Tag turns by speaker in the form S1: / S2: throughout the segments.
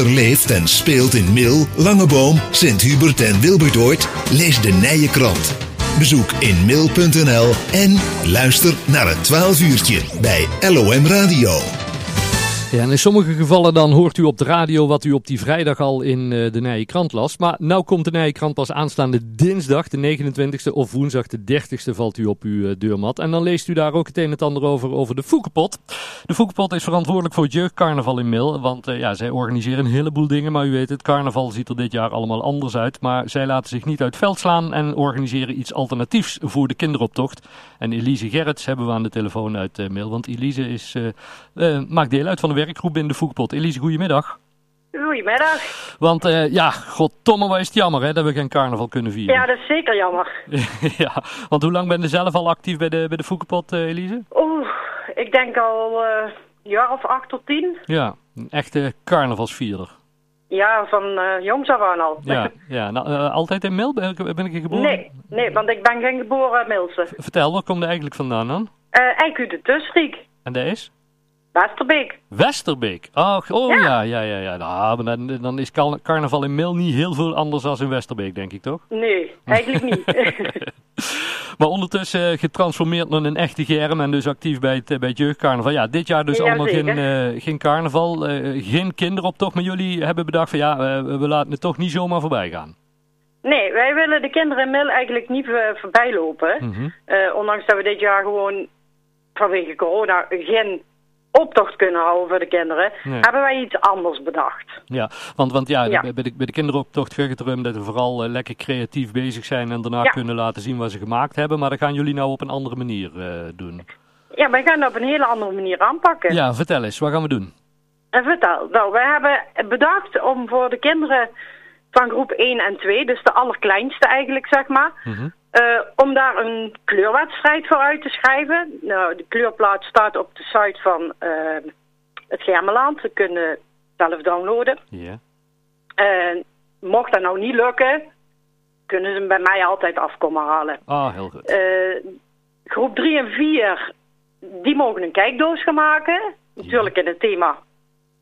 S1: Er leeft en speelt in Mil, Langeboom, Sint-Hubert en Wilbertoort. Lees de Nije Krant. Bezoek in mil.nl en luister naar het 12 uurtje bij LOM Radio.
S2: Ja, en in sommige gevallen dan hoort u op de radio wat u op die vrijdag al in eh, de Nije Krant las. Maar nou komt de Nije Krant pas aanstaande dinsdag de 29e of woensdag de 30e valt u op uw eh, deurmat. En dan leest u daar ook het een en het ander over, over de Foekenpot. De Foekenpot is verantwoordelijk voor het jeugdcarnaval in Mil. Want eh, ja, zij organiseren een heleboel dingen. Maar u weet het, carnaval ziet er dit jaar allemaal anders uit. Maar zij laten zich niet uit het veld slaan en organiseren iets alternatiefs voor de kinderoptocht. En Elise Gerrits hebben we aan de telefoon uit eh, Mil. Want Elise is... eh, eh, maakt deel uit van de werkgroep in de Voetpot. Elise, goedemiddag.
S3: Goedemiddag.
S2: Want eh, ja, goddomme, wat is het jammer hè, dat we geen carnaval kunnen vieren.
S3: Ja, dat is zeker jammer.
S2: Ja, want hoe lang ben je zelf al actief bij de, bij de Voetpot, eh, Elise?
S3: Oeh, ik denk al eh, een jaar of acht tot tien.
S2: Ja, een echte carnavalsvierder.
S3: Ja, van eh jongs af aan al. Dus,
S2: Ja, ja nou, eh, altijd in Mil ben ik, ben ik hier geboren?
S3: Nee, nee, want ik ben geen geboren Milse.
S2: Vertel, waar komt er eigenlijk vandaan dan?
S3: Eh IQ de Tustriek,
S2: En dat is?
S3: Westerbeek.
S2: Westerbeek. Ach, oh ja,
S3: Ja.
S2: ja, ja. ja, Nou, maar dan, dan is car- carnaval in Mil niet heel veel anders dan in Westerbeek, denk ik toch?
S3: Nee, eigenlijk niet.
S2: Maar ondertussen eh, getransformeerd naar een echte germ en dus actief bij het, eh, bij het jeugdcarnaval. Ja, dit jaar dus
S3: Ja,
S2: allemaal geen,
S3: zeker.
S2: eh, geen carnaval, eh, geen kinderoptocht. Maar jullie hebben bedacht van ja, eh, we laten het toch niet zomaar voorbij gaan.
S3: nee, wij willen de kinderen in Mil eigenlijk niet eh, voorbij lopen.
S2: Mhm.
S3: Eh, ondanks dat we dit jaar gewoon vanwege corona geen optocht kunnen houden voor de kinderen,
S2: Nee.
S3: hebben wij iets anders bedacht.
S2: Ja, want, want ja,
S3: Ja.
S2: Bij, de, bij de kinderoptocht gaat het erom dat we vooral eh, lekker creatief bezig zijn en daarna
S3: Ja.
S2: kunnen laten zien wat ze gemaakt hebben. Maar dat gaan jullie nou op een andere manier eh, doen.
S3: Ja, wij gaan dat op een hele andere manier aanpakken.
S2: Ja, vertel eens, wat gaan we doen?
S3: En vertel, nou, we hebben bedacht om voor de kinderen van groep 1 en 2, dus de allerkleinste eigenlijk, zeg maar,
S2: Mhm.
S3: eh, om daar een kleurwedstrijd voor uit te schrijven. Nou, de kleurplaat staat op de site van eh, het Germeland. Ze kunnen zelf downloaden.
S2: Ja.
S3: En mocht dat nou niet lukken, kunnen ze hem bij mij altijd afkomen halen.
S2: Ah, heel goed.
S3: Eh, groep 3 en 4, die mogen een kijkdoos gaan maken. Natuurlijk in het thema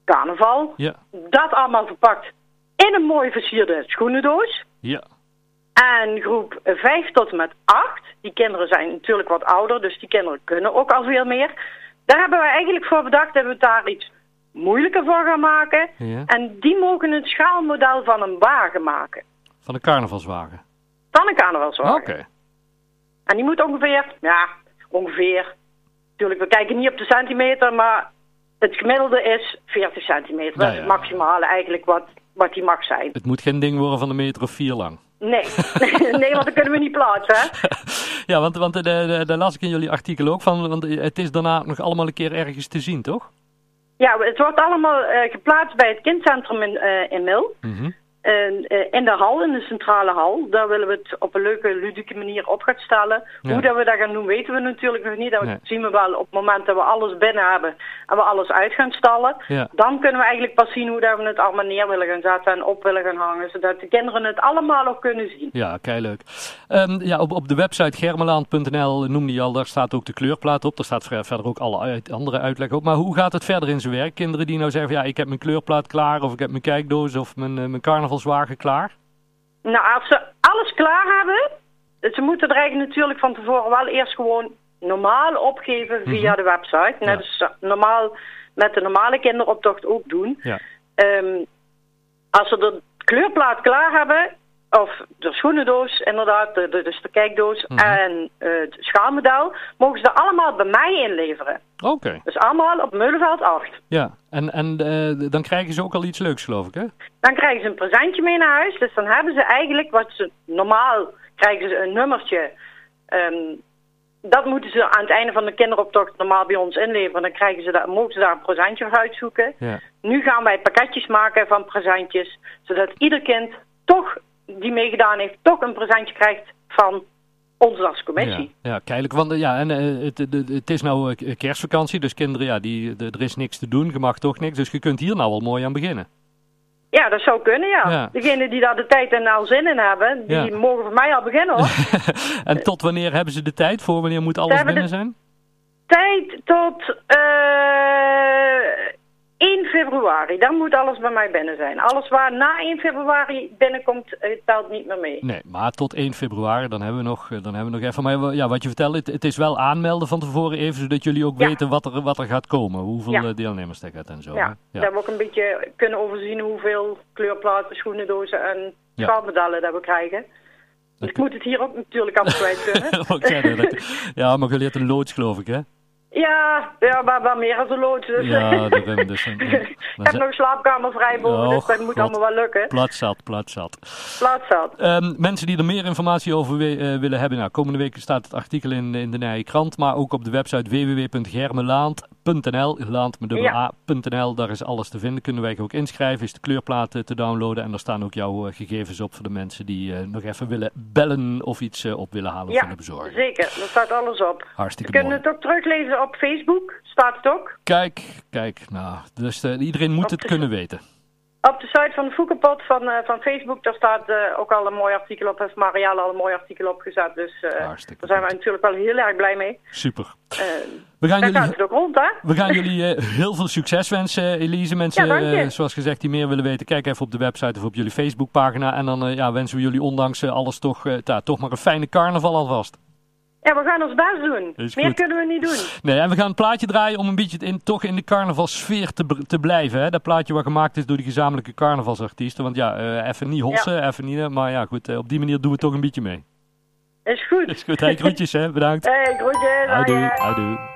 S3: carnaval.
S2: Ja,
S3: Dat allemaal verpakt in een mooi versierde schoenendoos.
S2: ja.
S3: En groep 5 tot en met 8, die kinderen zijn natuurlijk wat ouder, dus die kinderen kunnen ook al veel meer. Daar hebben we eigenlijk voor bedacht dat we het daar iets moeilijker voor gaan maken.
S2: Ja.
S3: En die mogen een schaalmodel van een wagen maken.
S2: Van de carnavalswagen.
S3: Dan een carnavalswagen.
S2: Oké.
S3: En die moet ongeveer, ja, ongeveer. Natuurlijk, we kijken niet op de centimeter, maar het gemiddelde is 40 centimeter.
S2: Nou
S3: dat is het
S2: ja.
S3: maximale eigenlijk wat, wat die mag zijn.
S2: Het moet geen ding worden van een meter of vier lang.
S3: Nee. nee, want dat kunnen we niet plaatsen. Hè?
S2: Ja, want, want eh, de, de, daar las ik in jullie artikel ook van. Want eh, het is daarna nog allemaal een keer ergens te zien, toch?
S3: Ja, het wordt allemaal eh, geplaatst bij het kindcentrum in, eh, in Mil.
S2: Mhm.
S3: En, eh, in de hal, in de centrale hal. Daar willen we het op een leuke, ludieke manier op gaan stellen.
S2: Ja.
S3: Hoe dat we dat gaan doen, weten we natuurlijk nog niet. Dat
S2: Nee.
S3: zien we wel op het moment dat we alles binnen hebben en we alles uit gaan stallen.
S2: Ja.
S3: Dan kunnen we eigenlijk pas zien hoe dat we het allemaal neer willen gaan zetten en op willen gaan hangen. Zodat de kinderen het allemaal ook kunnen zien.
S2: Ja, keileuk. Ehm ja, op, op de website germelaan.nl noemde je al, daar staat ook de kleurplaat op. Daar staat ver- verder ook alle uit- andere uitleg op. Maar hoe gaat het verder in zijn werk? Kinderen die nou zeggen van ja, ik heb mijn kleurplaat klaar of ik heb mijn kijkdoos of mijn, eh, mijn carnavalswagen klaar.
S3: Nou, als ze alles klaar hebben, ze moeten er eigenlijk natuurlijk van tevoren wel eerst gewoon normaal opgeven via de website. Net
S2: Mhm. Ja.
S3: als ze normaal met de normale kinderoptocht ook doen.
S2: Ja.
S3: Ehm, als ze de kleurplaat klaar hebben, of de schoenendoos inderdaad, de, de- dus de kijkdoos
S2: Mhm.
S3: en eh, het schaalmodel, mogen ze dat allemaal bij mij inleveren.
S2: Oké,
S3: Dus allemaal op Meulenveld 8.
S2: ja. En, en eh, dan krijgen ze ook al iets leuks, geloof ik, hè?
S3: Dan krijgen ze een presentje mee naar huis. Dus dan hebben ze eigenlijk wat ze normaal krijgen ze een nummertje. Ehm, dat moeten ze aan het einde van de kinderoptocht normaal bij ons inleveren. Dan krijgen ze daar, mogen ze daar een presentje voor uitzoeken.
S2: Ja.
S3: Nu gaan wij pakketjes maken van presentjes. Zodat ieder kind toch die meegedaan heeft, toch een presentje krijgt van ons als
S2: Ja,
S3: commissie.
S2: ja kijk, want eh, ja, en, eh, het, het, het is nou eh, kerstvakantie, dus kinderen, ja, die, de- er is niks te doen, je mag toch niks, dus je kunt hier nou al mooi aan beginnen.
S3: Ja, dat zou kunnen, ja.
S2: Ja.
S3: Degenen die daar de tijd en al zin in hebben, die
S2: Ja.
S3: mogen voor mij al beginnen hoor. Eh.
S2: en tot wanneer hebben ze de tijd voor? Wanneer moet alles
S3: hebben
S2: binnen
S3: de-
S2: zijn?
S3: tijd tot eh 1 februari, dan moet alles bij mij binnen zijn. Alles waar na 1 februari binnenkomt, eh, telt niet meer mee.
S2: Nee, maar tot 1 februari, dan hebben we nog, eh, dan hebben we nog even. Maar we- ja, wat je vertelt, het, het is wel aanmelden van tevoren even, zodat jullie ook
S3: Ja.
S2: weten wat er, wat er gaat komen. Hoeveel
S3: Ja.
S2: eh, deelnemers er gaat en zo.
S3: Ja,
S2: hè?
S3: dat we ook een beetje kunnen overzien hoeveel kleurplaten, schoenendozen en
S2: Ja.
S3: schaalmedallen dat we krijgen. Dus ik moet het hier ook natuurlijk allemaal kwijt kunnen.
S2: Wou ik zeggen, dat- ja, maar jullie hadden een loods, geloof ik, hè?
S3: ja, ja, maar, maar meer als een loods. Dus.
S2: Ja, de rem. Dus een, een,
S3: ik
S2: dan
S3: heb
S2: ze-
S3: nog slaapkamer vrij boven,
S2: Oh,
S3: dus dat moet
S2: God.
S3: allemaal wel lukken.
S2: plat zat, plat zat.
S3: Plaats zat.
S2: Ehm, mensen die er meer informatie over we- eh, willen hebben, nou, komende week staat het artikel in, in de Nije Krant, maar ook op de website www.germelaand.nl, laand met dubbel
S3: Ja.
S2: A.nl, daar is alles te vinden. Kunnen wij ook inschrijven, is de kleurplaat eh, te downloaden en daar staan ook jouw eh, gegevens op voor de mensen die eh, nog even willen bellen of iets eh, op willen halen of
S3: Ja,
S2: willen bezorgen.
S3: zeker. Daar staat alles op. Ze
S2: Hartstikke
S3: kunnen
S2: mooi.
S3: het ook teruglezen op Facebook, staat het ook.
S2: Kijk, kijk, nou, dus eh, iedereen moet
S3: Op
S2: het
S3: de-
S2: kunnen weten.
S3: Op de site van de Foekenpot van, eh, van Facebook, daar staat eh, ook al een mooi artikel op. Heeft Marielle al een mooi artikel opgezet. Dus eh,
S2: Hartstikke
S3: daar zijn we
S2: goed.
S3: natuurlijk wel heel erg blij mee.
S2: Super.
S3: Eh,
S2: We gaan
S3: dan
S2: jullie...
S3: gaat het ook rond, hè?
S2: We gaan jullie eh, heel veel succes wensen, Elise. Mensen,
S3: Ja, dank je.
S2: eh, zoals gezegd, die meer willen weten, kijk even op de website of op jullie Facebookpagina. En dan eh, ja, wensen we jullie ondanks eh, alles toch, eh, ja, toch maar een fijne carnaval alvast.
S3: Ja, we gaan ons best doen.
S2: Is
S3: Meer
S2: goed.
S3: kunnen we niet doen.
S2: Nee, en we gaan een plaatje draaien om een beetje in, toch in de carnavalsfeer te, br- te blijven. Hè? Dat plaatje wat gemaakt is door die gezamenlijke carnavalsartiesten. Want ja, eh, even niet hossen, even niet. eh, Maar ja, goed, eh, op die manier doen we toch een beetje mee.
S3: Is goed.
S2: Is goed, hey, groetjes hè, bedankt.
S3: Hey, groetjes. aan je.
S2: Houdoe, houdoe.